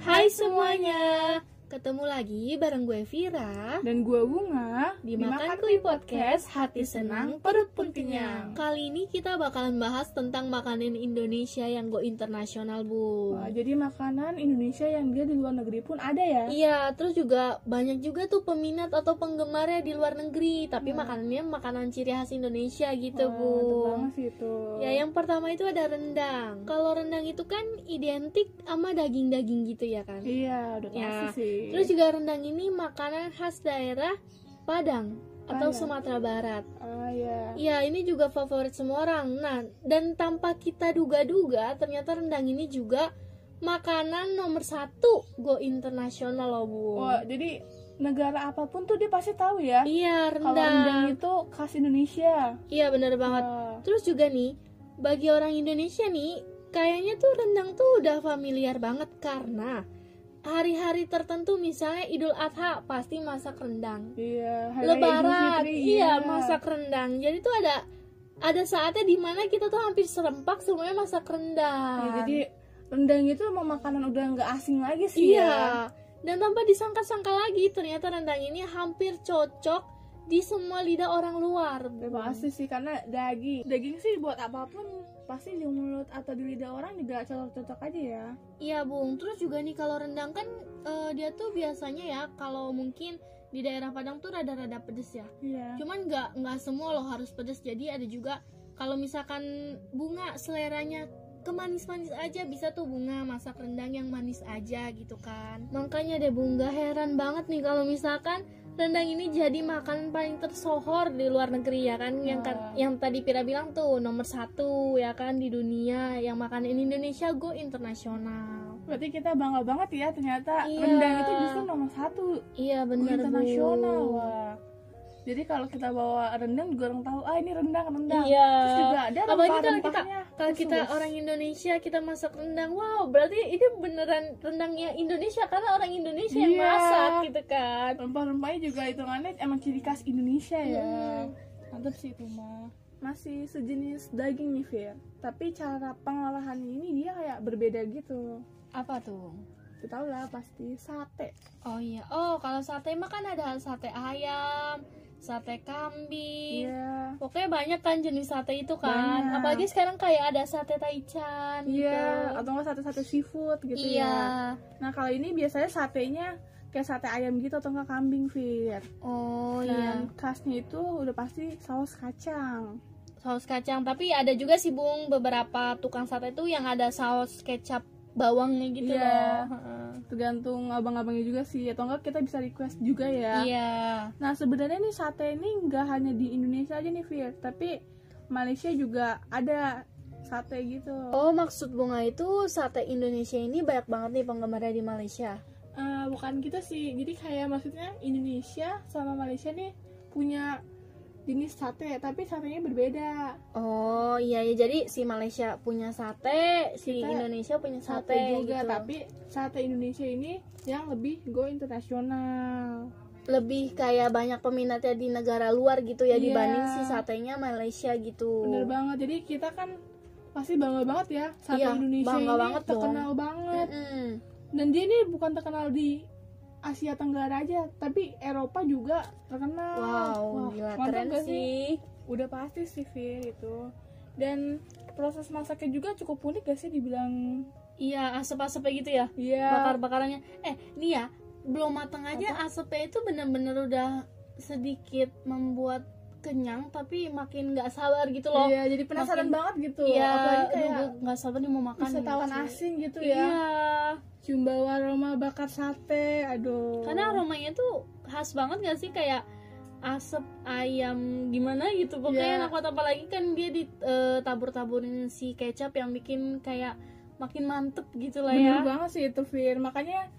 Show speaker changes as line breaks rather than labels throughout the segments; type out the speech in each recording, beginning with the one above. Hai semuanya, ketemu lagi bareng gue Vira
Dan gua Bunga
di Makan Kui Podcast Hati Senang Perut Puntinya. Kali ini kita bakalan bahas tentang makanan Indonesia yang go internasional bu.
Wah, jadi makanan Indonesia yang dia di luar negeri pun ada ya?
Iya, terus juga banyak juga tuh peminat atau penggemarnya di luar negeri, tapi makanannya makanan ciri khas Indonesia gitu
Wah,
bu.
mantep banget sih itu
Ya yang pertama itu ada rendang. Kalau rendang itu kan identik sama daging-daging gitu ya kan.
Iya, udah
Ya,
pasti sih
Terus juga rendang ini makanan khas daerah Padang atau
Padang.
Sumatera Barat.
Ah ya
Ya, ini juga favorit semua orang. Nah, dan tanpa kita duga-duga, ternyata rendang ini juga makanan nomor satu go internasional loh bu.
Wah, jadi negara apapun tuh dia pasti tahu ya
Iya
Kalau rendang
rendang.
itu khas Indonesia
Iya bener banget.
Wah,
Terus juga nih, bagi orang Indonesia nih, kayaknya tuh rendang tuh udah familiar banget karena hari-hari tertentu misalnya Idul Adha pasti masak rendang.
Iya, Hari Raya Idul
lebaran
Fitri,
iya masak rendang jadi tuh ada ada saatnya dimana kita tuh hampir serempak semuanya masak rendang
Ya, Jadi rendang itu emang makanan udah nggak asing lagi sih
iya
ya
dan tanpa disangka-sangka lagi ternyata rendang ini hampir cocok di semua lidah orang luar Bu.
Udah pasti sih karena daging daging sih buat apapun pasti di mulut atau di lidah orang juga cocok-cocok aja ya
iya bung terus juga nih kalau rendang kan eh, dia tuh biasanya ya kalau mungkin di daerah Padang tuh rada-rada pedes ya
iya
cuman nggak nggak semua loh harus pedes jadi ada juga kalau misalkan bunga seleranya ke manis-manis aja bisa tuh bunga masak rendang yang manis aja gitu kan makanya deh bunga heran banget nih kalau misalkan rendang ini jadi makanan paling tersohor di luar negeri ya kan yang kan-
Wah.
yang tadi Pira bilang tuh nomor satu ya kan di dunia yang makanan Indonesia go internasional
Berarti kita bangga banget ya ternyata
Iya.
rendang itu justru nomor satu
iya benar
internasional wah. Jadi kalau kita bawa rendang juga orang tahu ah ini rendang rendang.
iya
Terus juga ada
apalagi kalau kita
rempah-rempahnya.
kalau
Terus
kita
luas.
orang Indonesia kita masak rendang wow berarti ini beneran rendangnya Indonesia karena orang Indonesia yang
Iya.
masak gitu kan
rempah-rempahnya juga hitungannya emang ciri khas Indonesia ya.
Hmm.
Mantap sih itu mah. Masih sejenis daging nih Fir, tapi cara pengolahan ini dia kayak berbeda gitu.
apa tuh
Kita tahu lah pasti sate.
oh iya oh kalau sate mah kan ada sate ayam sate kambing
Iya.
pokoknya banyak kan jenis sate itu kan
Banyak.
apalagi sekarang kayak ada sate taichan
Iya,
gitu.
atau nggak sate-sate seafood gitu
iya
ya. Nah kalau ini biasanya satenya kayak sate ayam gitu atau enggak kambing Fir
oh iya
Dan khasnya itu udah pasti saus kacang
saus kacang tapi ada juga sih bung beberapa tukang sate tuh yang ada saus kecap bawangnya gitu
Iya.
loh Heeh.
Tergantung abang-abangnya juga sih Atau enggak kita bisa request juga ya
iya
Nah sebenarnya nih sate ini nggak hanya di Indonesia aja nih Fir Tapi Malaysia juga ada sate gitu
oh maksud bunga itu sate Indonesia ini banyak banget nih penggemarnya di Malaysia
Eh, Bukan gitu sih Jadi kayak maksudnya Indonesia sama Malaysia nih punya jenis sate Tapi satenya berbeda
oh iya ya jadi si Malaysia punya sate si
Kita
Indonesia punya
sate
sate,
juga
gitu.
tapi sate Indonesia ini yang lebih go internasional
lebih kayak banyak peminatnya di negara luar gitu ya
Iya.
dibanding si satenya Malaysia gitu
bener banget jadi kita kan pasti bangga banget ya sate
Iya,
Indonesia
bangga
ini
banget dong.
terkenal banget
Mm-mm.
dan dia ini bukan terkenal di Asia Tenggara aja tapi Eropa juga terkenal
wow
Wah,
gila
mantap
keren
gak
sih
udah pasti sih Fir itu dan proses masaknya juga cukup unik gak sih dibilang
iya asap-asapnya gitu ya
iya
bakar-bakarannya eh nih ya belum matang aja asapnya itu bener-bener udah sedikit membuat kenyang tapi makin nggak sabar gitu loh
iya jadi penasaran
Makin-
banget gitu
Iya,
apalagi
aduh,
kayak
gua nggak sabar nih mau makan
wisatawan
gitu.
asing gitu ya
iya
cium bau aroma bakar sate aduh
karena aromanya tuh khas banget gak sih kayak asap ayam gimana gitu pokoknya
Iya.
enak banget apalagi kan dia ditabur-taburin si kecap yang bikin kayak makin mantep gitu lah ya
bener banget sih itu Fir makanya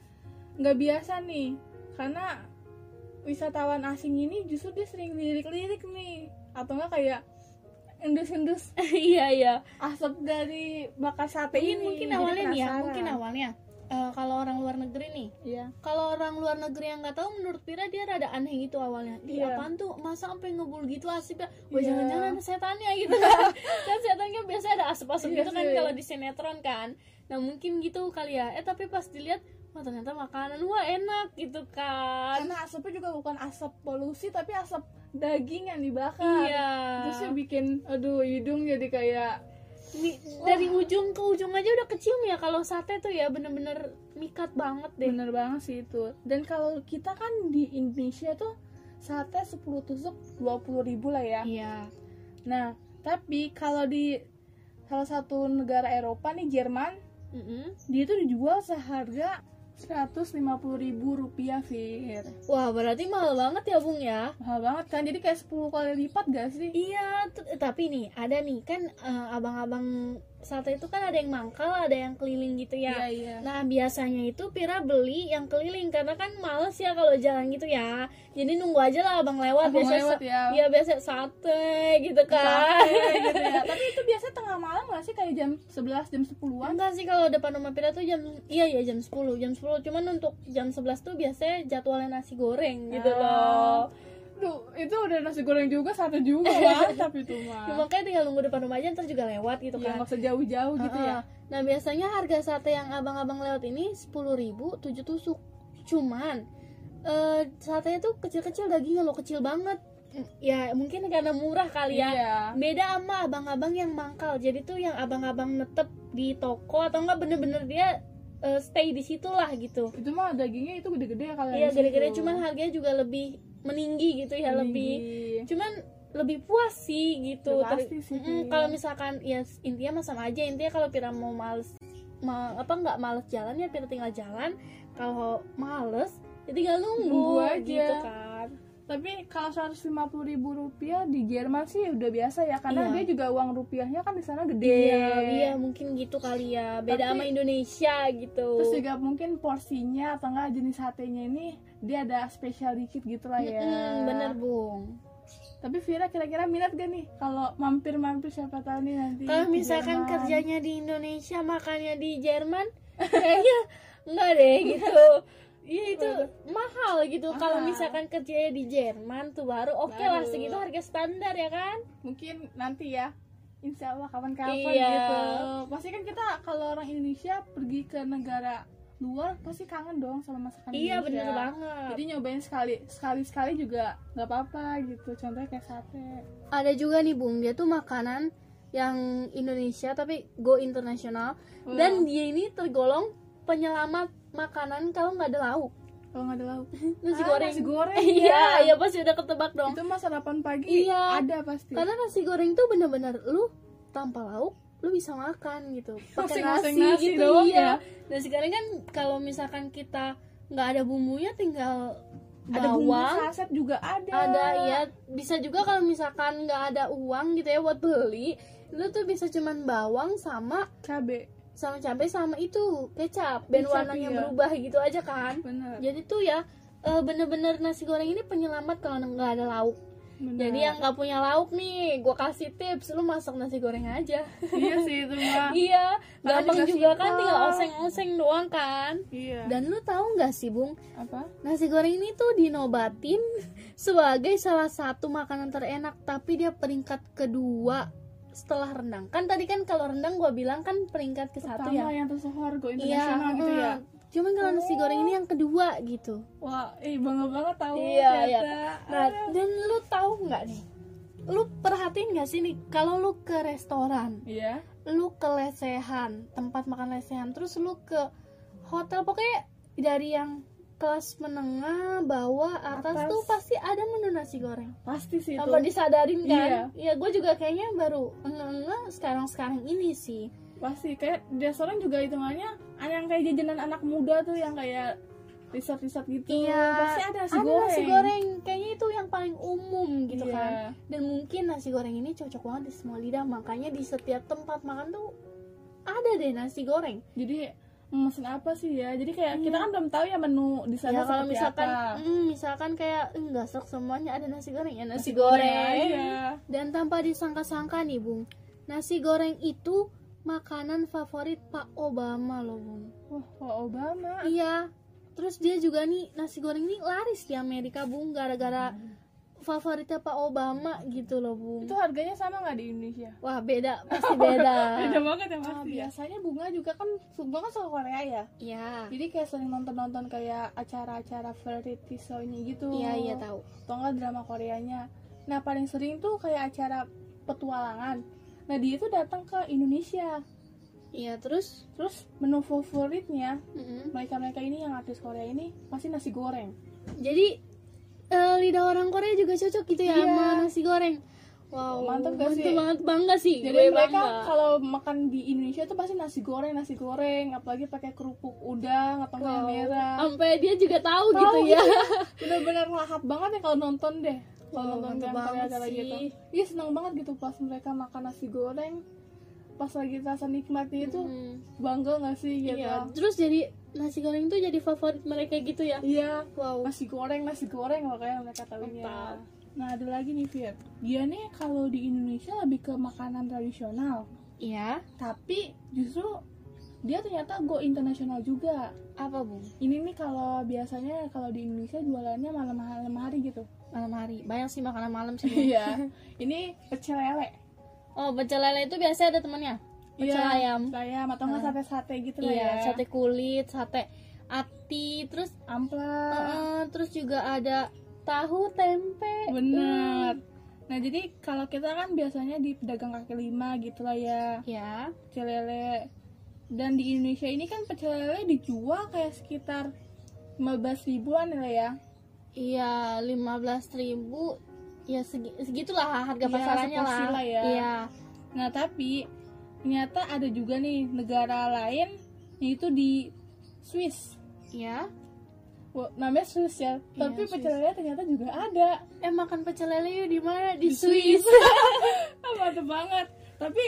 nggak biasa nih karena wisatawan asing ini justru dia sering lirik-lirik nih atau nggak kayak endus-endus
iya iya
asap dari bakar sate
mungkin
ini
mungkin
Jadi
awalnya nih ya
penasaran.
mungkin awalnya eh, kalau orang luar negeri nih
iya
kalau orang luar negeri yang nggak tahu menurut Pira dia rada aneh gitu awalnya Ih,
Iya.
apaan tuh masa sampai ngebul gitu asipnya wah
Iya.
jangan-jangan ada setannya gitu kan kan setan kan biasanya ada asap-asap
Iya
gitu kan
sih.
kalau di sinetron kan nah mungkin gitu kali ya eh tapi pas dilihat wah ternyata makanan wah enak gitu kan
karena asapnya juga bukan asap polusi tapi asap daging yang dibakar
iya
kan? terus yang bikin aduh hidung jadi kayak
Mi- dari ujung ke ujung aja udah kecium ya kalau sate tuh ya bener-bener mikat banget deh
bener banget sih itu dan kalau kita kan di Indonesia tuh sate 10 tusuk 20 ribu lah ya
iya
nah tapi kalau di salah satu negara Eropa nih Jerman
Mm-mm.
dia tuh dijual seharga 150 ribu rupiah Fir
wah berarti mahal banget ya bung ya
mahal banget kan jadi kayak 10 kali lipat gak sih
Iya, t- tapi nih ada nih kan eh, abang-abang sate itu kan ada yang mangkal, ada yang keliling gitu ya.
iya
Nah biasanya itu Pira beli yang keliling karena kan males ya kalau jalan gitu ya. Jadi nunggu aja lah abang lewat.
Abang
biasanya
lewat ya.
Iya biasa sate gitu kan.
Capek gitu ya. tapi itu biasa tengah malam gak sih kayak jam 11 jam 10-an
Enggak sih kalau depan rumah Pira tuh jam iya ya jam 10 jam 10 cuman untuk jam 11 tuh biasanya jadwalnya nasi goreng gitu
Ah.
loh.
Duh, itu udah nasi goreng juga satu juga mantap
Ya,
itu mah
makanya tinggal nunggu depan rumah aja ntar juga lewat gitu
Iya,
kan.
nggak usah jauh-jauh gitu ya
Heeh. Nah, biasanya harga sate yang abang-abang lewat ini 10.000 7 tusuk. Cuman eh satenya tuh kecil-kecil dagingnya loh, kecil banget. Mm, Ya, mungkin karena murah kali ya.
Iya.
Beda sama abang-abang yang mangkal. Jadi tuh yang abang-abang netep di toko atau enggak bener-bener dia eh, stay di situlah gitu.
Itu mah dagingnya itu gede-gede ya kalau
Iya,
yang
gara-gara
situ.
cuman harganya juga lebih meninggi gitu ya, lebih
Tinggi.
cuman lebih puas sih gitu
Ya, pasti
Ter-
sih,
Mm-mm,
Pi.
kalau misalkan ya intinya mah sama aja intinya kalau Pira mau males ma- apa nggak males jalan ya Pira tinggal jalan kalau males ya tinggal nunggu,
Nunggu aja.
gitu kan
Tapi kalau 150 ribu rupiah di Jerman sih udah biasa ya
Iya.
karena dia juga uang rupiahnya kan di sana gede.
iya iya mungkin gitu kali ya beda
Tapi-
sama Indonesia gitu
Terus juga mungkin porsinya atau enggak jenis satenya ini dia ada spesial dikit gitu lah ya.
Mm-mm, bener bung
Tapi Vira kira-kira minat gak nih kalau mampir-mampir siapa tahu nih nanti.
kalau
ke
misalkan
Jerman?
kerjanya di Indonesia makannya di Jerman kayaknya enggak deh gitu Iya itu mahal gitu kalau
Mahal.
misalkan kerjanya di Jerman tuh baru oke lah
Baru.
segitu harga standar ya kan
mungkin nanti ya. Insya Allah kapan-kapan
Iya.
gitu. Pasti kan kita kalau orang Indonesia pergi ke negara luar pasti kangen dong sama masakan
iya
Indonesia.
bener banget
jadi nyobain sekali sekali sekali juga nggak apa-apa gitu contohnya kayak sate
ada juga nih Bung dia tuh makanan yang Indonesia tapi go internasional
Oh.
dan dia ini tergolong penyelamat makanan kalau nggak ada lauk
kalau nggak ada lauk
nasi
Ah,
goreng
nasi goreng
iya
ya.
iya pasti udah ketebak dong
itu mas sarapan pagi
Iya.
ada pasti
karena nasi goreng tuh bener-bener lu tanpa lauk lu bisa makan gitu pakai nasi,
Masing-masing nasi
gitu
doang
iya nasi goreng kan kalau misalkan kita nggak ada bumbunya tinggal
ada bumbu
bawang
saset juga ada
ada ya bisa juga kalau misalkan nggak ada uang gitu ya buat beli lu tuh bisa cuman bawang sama
cabe
sama cabai sama itu kecap dan
Kecap,
warnanya
iya.
berubah gitu aja kan
bener,
jadi tuh ya eh, bener-bener nasi goreng ini penyelamat kalau nggak ada lauk
bener.
jadi yang nggak punya lauk nih, gue kasih tips, lu masak nasi goreng aja.
iya sih itu mah
iya,
Karena
gampang
juga
juga, kan,
simpel.
tinggal oseng-oseng doang kan.
iya
Dan lu tahu nggak sih, Bung?
apa
Nasi goreng ini tuh dinobatin sebagai salah satu makanan terenak, tapi dia peringkat kedua setelah rendang. Kan tadi kan kalau rendang gue bilang kan peringkat ke satu
pertama
ya.
yang tersohor go internasional gitu ya
eh. Cuman kalau nasi goreng ini yang kedua gitu.
wah eh bangga banget tahu
Iya, iya.
ternyata.
Nah, dan lu tahu nggak nih? Lu perhatiin nggak sih nih kalau lu ke restoran,
iya
lu ke lesehan, tempat makan lesehan, terus lu ke hotel pokoknya dari yang kelas menengah, bawah, atas,
Atas.
tuh pasti ada menu nasi goreng.
pasti sih itu
Tanpa disadarin kan?
Iya.
Iya, gue juga kayaknya baru enggak sekarang-sekarang ini sih.
pasti kayak di restoran juga hitungannya yang kayak jajanan anak muda tuh yang kayak riset-riset gitu pasti ada nasi goreng
Iya, nasi goreng. Kayaknya itu yang paling umum gitu
Iya.
kan. dan mungkin nasi goreng ini cocok banget di semua lidah makanya di setiap tempat makan tuh ada deh nasi goreng
jadi mesin apa sih ya jadi kayak kita
Iya.
kan belum tahu ya menu di
ya
sana
kalau
seperti
misalkan
apa
mm, misalkan kayak "Eh, nggak sok semuanya ada nasi goreng ya nasi,
Iya.
goreng dan tanpa disangka-sangka nih bung nasi goreng itu makanan favorit Pak Obama loh bung
wah Pak Obama
iya terus dia juga nih nasi goreng ini laris di Amerika bung gara-gara favoritnya Pak Obama gitu loh Bung
itu harganya sama nggak di Indonesia
wah beda pasti beda
beda banget ya
Ah,
pasti ya
biasanya bunga juga kan bunga kan suka Korea ya
ya
jadi kayak sering nonton-nonton kayak acara-acara variety show-nya gitu
iya iya tahu
atau enggak drama Koreanya nah paling sering tuh kayak acara petualangan nah dia tuh datang ke Indonesia
iya terus
terus menu favoritnya
Mm-mm.
mereka-mereka ini yang artis Korea ini pasti nasi goreng
jadi eh, lidah orang Korea juga cocok gitu ya
Iya.
sama nasi goreng wow
Mantap gak
mantep
sih?
banget bangga sih gue
jadi mereka
bangga.
kalau makan di Indonesia tuh pasti nasi goreng nasi goreng apalagi pakai kerupuk udang atau
Wow. Oh,
wow. merah
sampai dia juga tahu,
Tahu
gitu ya
bener-bener lahap banget ya kalau nonton deh kalau
Wow, mantep
nonton yang
banget
acara
sih.
gitu iya seneng banget gitu pas mereka makan nasi goreng pas lagi rasa nikmatnya itu
Mm.
bangga gak sih gitu
Iya, terus jadi nasi goreng tuh jadi favorit mereka gitu ya
iya
wow
nasi goreng nasi goreng makanya mereka tahunya
Mantap.
nah ada lagi nih Fir dia nih kalau di Indonesia lebih ke makanan tradisional
iya
tapi justru dia ternyata go internasional juga
apa bung
ini nih kalau biasanya kalau di Indonesia jualannya malam-malam hari gitu
malam hari banyak sih makanan malam sih Bung.
iya ini pecel lele
oh pecel lele itu biasanya ada temennya pecel ayam
Iya. ayam atau nggak sate-sate gitu lah ya
iya sate kulit sate ati terus
amplas
eh, terus juga ada tahu tempe
bener nah jadi kalau kita kan biasanya di pedagang kaki lima gitu lah ya
ya
pecel lele dan di Indonesia ini kan pecel lele dijual kayak sekitar 15 ribuan lah ya
Iya, 15.000 ribu ya segi- segitulah harga
Iya,
pasarannya lah.
seporsi lah ya.
Iya.
nah tapi ternyata ada juga nih negara lain yaitu di Swiss
Iya.
Wah, namanya Swiss ya tapi
Swiss.
pecel lele ternyata juga ada
Eh makan pecel lele yuk di mana? Di,
Di
Swiss.
Ah, Mantep banget. Tapi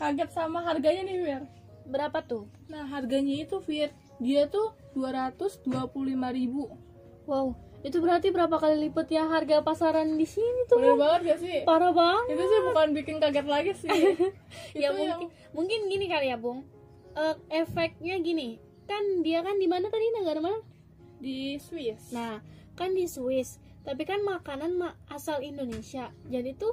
kaget sama harganya nih, Fir.
Berapa tuh?
Nah, harganya itu, Fir, dia tuh 225 ribu.
Wow, itu berarti berapa kali lipat ya harga pasaran di sini tuh?
Bener banget gak sih?
Parah banget.
Itu sih bukan bikin kaget lagi sih.
ya
Itu
mungkin mungkin gini kali ya, Bung. Eh, efeknya gini. Kan dia kan di mana tadi negara mana?
di Swiss.
Nah, kan di Swiss, tapi kan makanan ma- asal Indonesia. Jadi tuh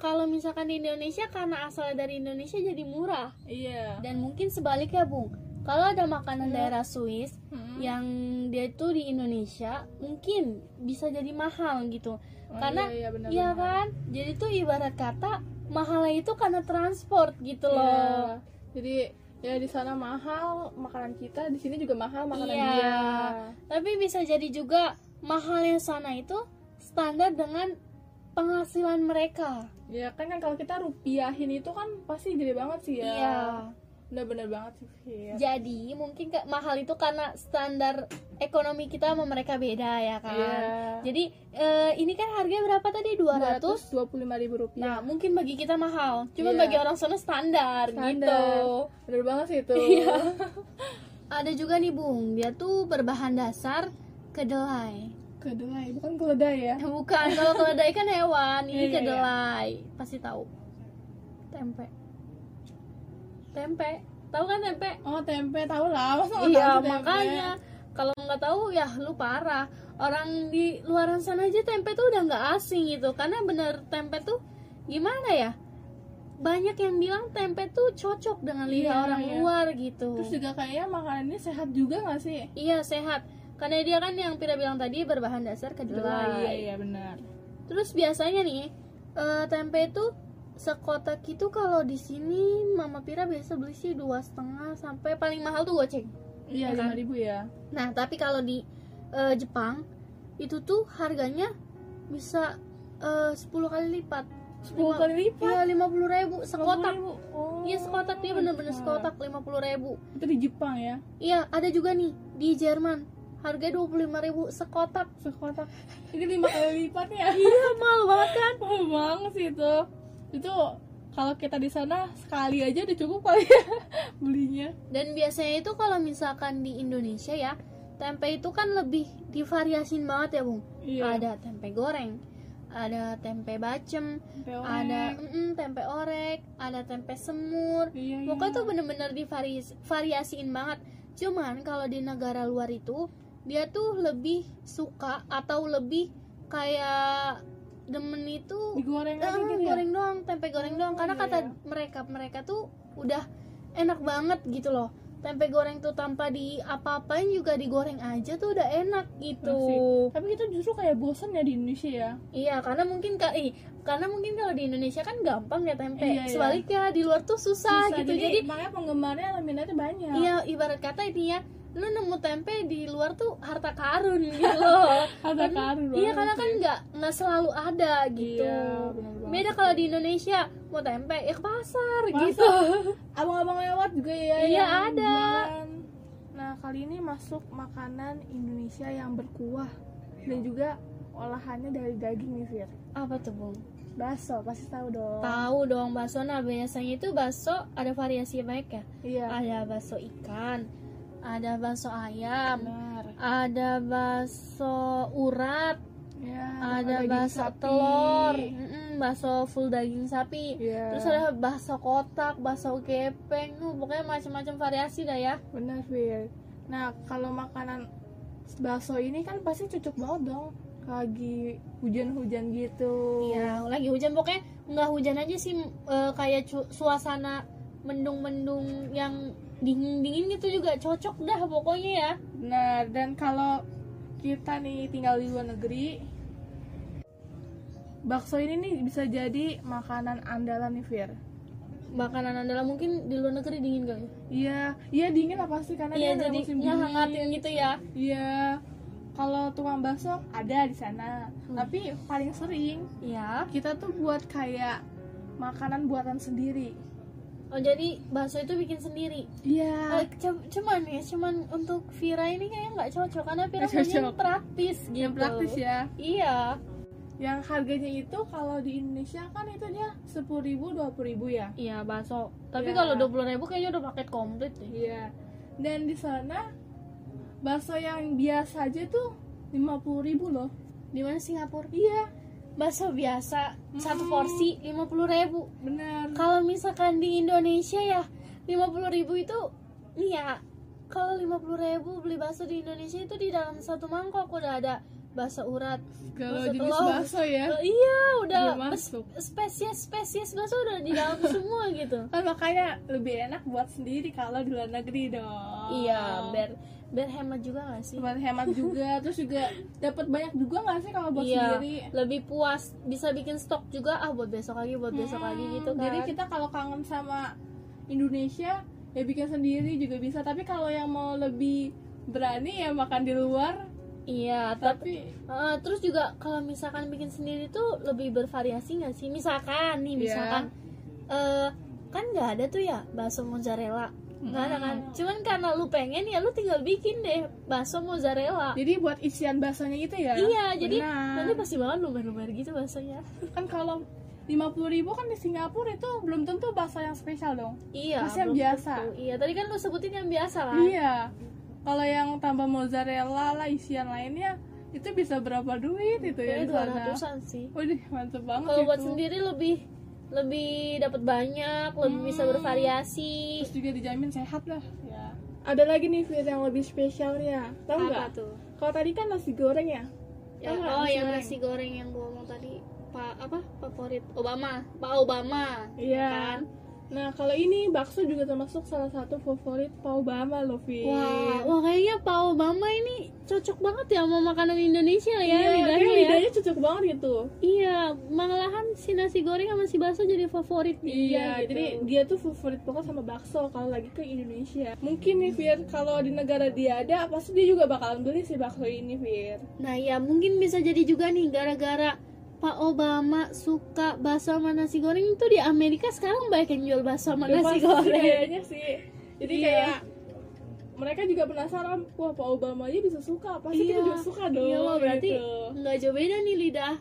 kalau misalkan di Indonesia karena asal dari Indonesia jadi murah.
iya.
Dan mungkin sebaliknya, Bung. Kalau ada makanan daerah Swiss
Hmm.
yang dia tuh di Indonesia, mungkin bisa jadi mahal gitu.
Oh,
karena
iya, iya, benar,
iya
benar.
kan? Jadi tuh ibarat kata mahalnya itu karena transport gitu
Iya.
loh.
Jadi ya di sana mahal makanan kita, di sini juga mahal makanan
Iya.
dia.
Tapi bisa jadi juga mahalnya sana itu standar dengan penghasilan mereka.
Ya kan yang kalau kita rupiahin itu kan pasti gede banget sih ya.
Iya.
Bener-bener banget sih, Fir.
Jadi mungkin ke- mahal itu karena standar ekonomi kita sama mereka beda ya kan.
Iya.
Jadi eh, ini kan harganya berapa tadi? 200.
225 ribu rupiah.
Nah, mungkin bagi kita mahal, cuma
Iya.
bagi orang sana standar, gitu. Iya.
Standar. Bener banget sih itu.
Ada juga nih, Bung. Dia tuh berbahan dasar kedelai.
Kedelai, bukan keledai ya.
Bukan kalau keledai kan hewan, ini
Iya, iya,
kedelai. Pasti tahu. Tempe. Tempe. Tahu kan tempe?
Oh, tempe tahu lah. Masa nggak
iya,
tahu tempe?
makanya kalau nggak tahu ya lu parah. Orang di luaran sana aja tempe tuh udah nggak asing gitu. Karena bener tempe tuh gimana ya? Banyak yang bilang tempe tuh cocok dengan lidah
Iya,
orang
iya.
luar gitu.
Terus juga kayaknya makanannya sehat juga gak sih?
Iya, sehat. Karena dia kan yang Pira bilang tadi berbahan dasar
Iya,
kedelai.
iya benar.
Terus biasanya nih eh, tempe itu sekotak itu kalau di sini Mama Pira biasa beli sih dua setengah sampai paling mahal tuh goceng.
Iya,
Iya kan?
5 ribu ya.
Nah, tapi kalau di eh, Jepang itu tuh harganya bisa eh, 10 kali lipat.
10 kali lipat.
Iya, 50 ribu sekotak.
50.000. Oh.
Iya, sekotak dia bener-bener
besar.
sekotak 50 ribu.
Itu di Jepang ya.
Iya, ada juga nih di Jerman. Harga 25 ribu sekotak.
Sekotak. Ini 5 kali lipat ya.
Iya, mahal banget kan?
Mahal banget sih itu. Itu kalau kita di sana sekali aja udah cukup kali ya belinya.
Dan biasanya itu kalau misalkan di Indonesia ya, tempe itu kan lebih divariasin banget ya, Bung.
Iya.
Ada tempe goreng, ada tempe bacem,
Tempe
ada
orek.
mm, tempe orek, ada tempe semur.
Iya, iya.
Pokoknya tuh bener-bener divariasiin banget. Cuman kalau di negara luar itu dia tuh lebih suka atau lebih kayak demen itu
digoreng
eh,
aja gitu ya
goreng doang tempe goreng doang karena
iya,
kata
iya.
mereka mereka tuh udah enak banget gitu loh tempe goreng tuh tanpa di apa-apain juga digoreng aja tuh udah enak gitu
Masih. tapi kita justru kayak bosen ya di Indonesia ya
Iya, karena mungkin ka- ih, karena mungkin kalau di Indonesia kan gampang ya tempe.
Iya, iya.
Sebaliknya di luar tuh susah,
Susah,
gitu. Jadi,
makanya penggemarnya Lamina tuh banyak
iya ibarat kata ini ya, lu nemu tempe di luar tuh harta karun gitu loh.
ada
Karena-
karun
Iya,
banget
karena kan
sih.
nggak nggak selalu ada gitu.
Iya, bener banget.
Beda kalau di Indonesia mau tempe ya ke pasar
Masa?
gitu.
abang-abang lewat juga ya
Iya,
yang
ada.
jualan. nah kali ini masuk makanan Indonesia yang berkuah dan juga olahannya dari daging nih Fir
Apa tuh, Bung?
bakso pasti tahu dong
Tahu dong bakso nah biasanya itu bakso ada variasi banyak ya.
iya
Ada bakso ikan, ada bakso ayam,
benar
ada bakso urat,
Iya,
ada
daging
bakso
sapi.
telur, mm-mm, bakso full daging sapi,
iya
terus ada bakso kotak, bakso gepeng, uh, pokoknya macam-macam variasi dah ya.
benar Fir nah kalau makanan bakso ini kan pasti cocok banget dong lagi hujan-hujan gitu
Iya, lagi hujan pokoknya nggak hujan aja sih m- eh, kayak cu- suasana mendung-mendung yang dingin-dingin gitu juga cocok dah pokoknya ya.
Nah, dan kalau kita nih tinggal di luar negeri, bakso ini nih bisa jadi makanan andalan nih, Fir.
Makanan andalan mungkin di luar negeri dingin kali.
Iya, iya dingin lah pasti karena
Iya,
dia ada
jadi
musim dingin.
ngehangatin gitu ya.
Iya. Kalau tukang bakso ada di sana,
Hmm.
tapi paling sering
Iya.
kita tuh buat kayak makanan buatan sendiri.
Oh, jadi bakso itu bikin sendiri. Eh,
Iya.
cu- cuman ya, cuman untuk Vira ini kayaknya nggak cocok karena Vira
Nggak
maunya
cocok.
praktis gitu.
yang praktis ya.
Iya.
Yang harganya itu kalau di Indonesia kan itu dia 10.000 20.000 ya.
Iya bakso. Tapi
Iya.
kalau dua puluh ribu kayaknya udah paket komplit deh.
Iya. Dan di sana bakso yang biasa aja tuh 50.000 loh.
Di mana Singapura?
Iya,
Bakso biasa satu
Hmm.
porsi lima puluh ribu.
benar.
Kalau misalkan di Indonesia ya lima puluh ribu itu, nih ya kalau lima puluh ribu beli bakso di Indonesia itu di dalam satu mangkok udah ada bakso urat.
Kalau
Bakso
jenis
telur.
bakso ya.
Eh, iya udah
Udah masuk.
es- spesies spesies bakso udah di dalam semua gitu.
Kan makanya lebih enak buat sendiri kalau di luar negeri dong.
Iya, biar biar hemat juga gak sih?
Buat Oh. hemat juga, terus juga dapat banyak juga nggak sih kalau buat
iya,
sendiri?
lebih puas bisa bikin stok juga ah buat besok lagi, buat besok
Hmm,
lagi gitu kan.
Jadi kita kalau kangen sama Indonesia ya bikin sendiri juga bisa, tapi kalau yang mau lebih berani ya makan di luar,
iya, tapi
tapi
eh, terus juga kalau misalkan bikin sendiri tuh lebih bervariasi gak sih? Misalkan nih,
Iya.
misalkan eh kan nggak ada tuh ya bakso mozzarella. Nggak ada
Hmm.
kan? Cuman karena lu pengen ya lu tinggal bikin deh bakso mozzarella.
Jadi buat isian baksonya gitu ya?
Iya, jadi
Benar.
nanti pasti banget lumer-lumer gitu baksonya.
kan kalau 50.000 ribu kan di Singapura itu belum tentu bakso yang spesial dong.
Iya,
Terus yang
belum
biasa.
tentu. Iya, tadi kan lu sebutin yang biasa lah.
Iya. Kalau yang tambah mozzarella lah isian lainnya itu bisa berapa duit itu ya
Kayaknya Iya,
di
dua
sana?
ratusan sih.
Waduh, mantep banget
Kalau buat
itu.
sendiri lebih lebih dapat banyak, lebih
Hmm.
bisa bervariasi.
Terus juga dijamin sehat lah. Ya. Ada lagi nih Fit yang lebih spesialnya. Tahu
Apa
nggak?
tuh?
Kalau tadi kan nasi goreng ya.
Ya,
Tahu nggak
oh,
nasi
yang
goreng?
nasi goreng yang gua ngomong tadi. Pak apa? Favorit Obama. Pak Obama.
Iya.
Kan?
Nah, kalau ini bakso juga termasuk salah satu favorit Pau Bama loh, Fit.
Wah, wah kayaknya Pak Obama ini cocok banget ya sama makanan Indonesia ya
Iya,
lidahnya
kayaknya
ya.
lidahnya cocok banget gitu.
Iya, malahan si nasi goreng sama si bakso jadi favorit dia.
Iya,
gitu.
jadi dia tuh favorit banget sama bakso kalau lagi ke Indonesia. Mungkin nih Fir, kalau di negara dia ada, pasti dia juga bakalan beli sih bakso ini Fir.
Nah ya mungkin bisa jadi juga nih gara-gara Pak Obama suka bakso sama nasi goreng itu di Amerika sekarang banyak yang jual bakso sama
Ya,
nasi
pasti
goreng.
Kayaknya sih. Jadi
Iya.
kayak mereka juga penasaran, wah Pak Obama aja bisa suka, pasti kita
Iya.
juga suka dong.
Iya loh, berarti
gitu.
nggak jauh beda nih lidah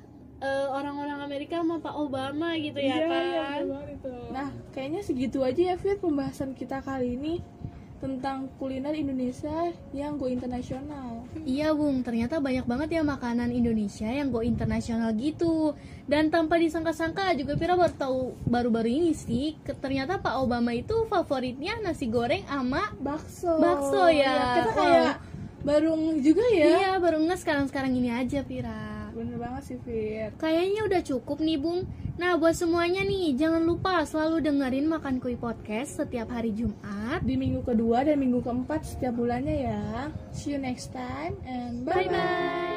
eh, orang-orang Amerika sama Pak Obama gitu
Iya,
ya kan.
iya, bener banget itu. Nah, kayaknya segitu aja ya Fir pembahasan kita kali ini tentang kuliner Indonesia yang go internasional.
Iya Bung, ternyata banyak banget ya makanan Indonesia yang go internasional gitu Dan tanpa disangka-sangka juga Pira baru tahu baru-baru ini sih ke- Ternyata Pak Obama itu favoritnya nasi goreng sama
Bakso.
Bakso ya.
Kita kayak baru juga ya.
Iya baru nge sekarang-sekarang ini aja Pira
bener banget sih Fit
Kayaknya udah cukup nih Bung. Nah buat semuanya nih, jangan lupa selalu dengerin Makan Kui Podcast setiap hari Jumat.
di minggu kedua dan minggu keempat setiap bulannya ya see you next time and bye bye
Bye-bye.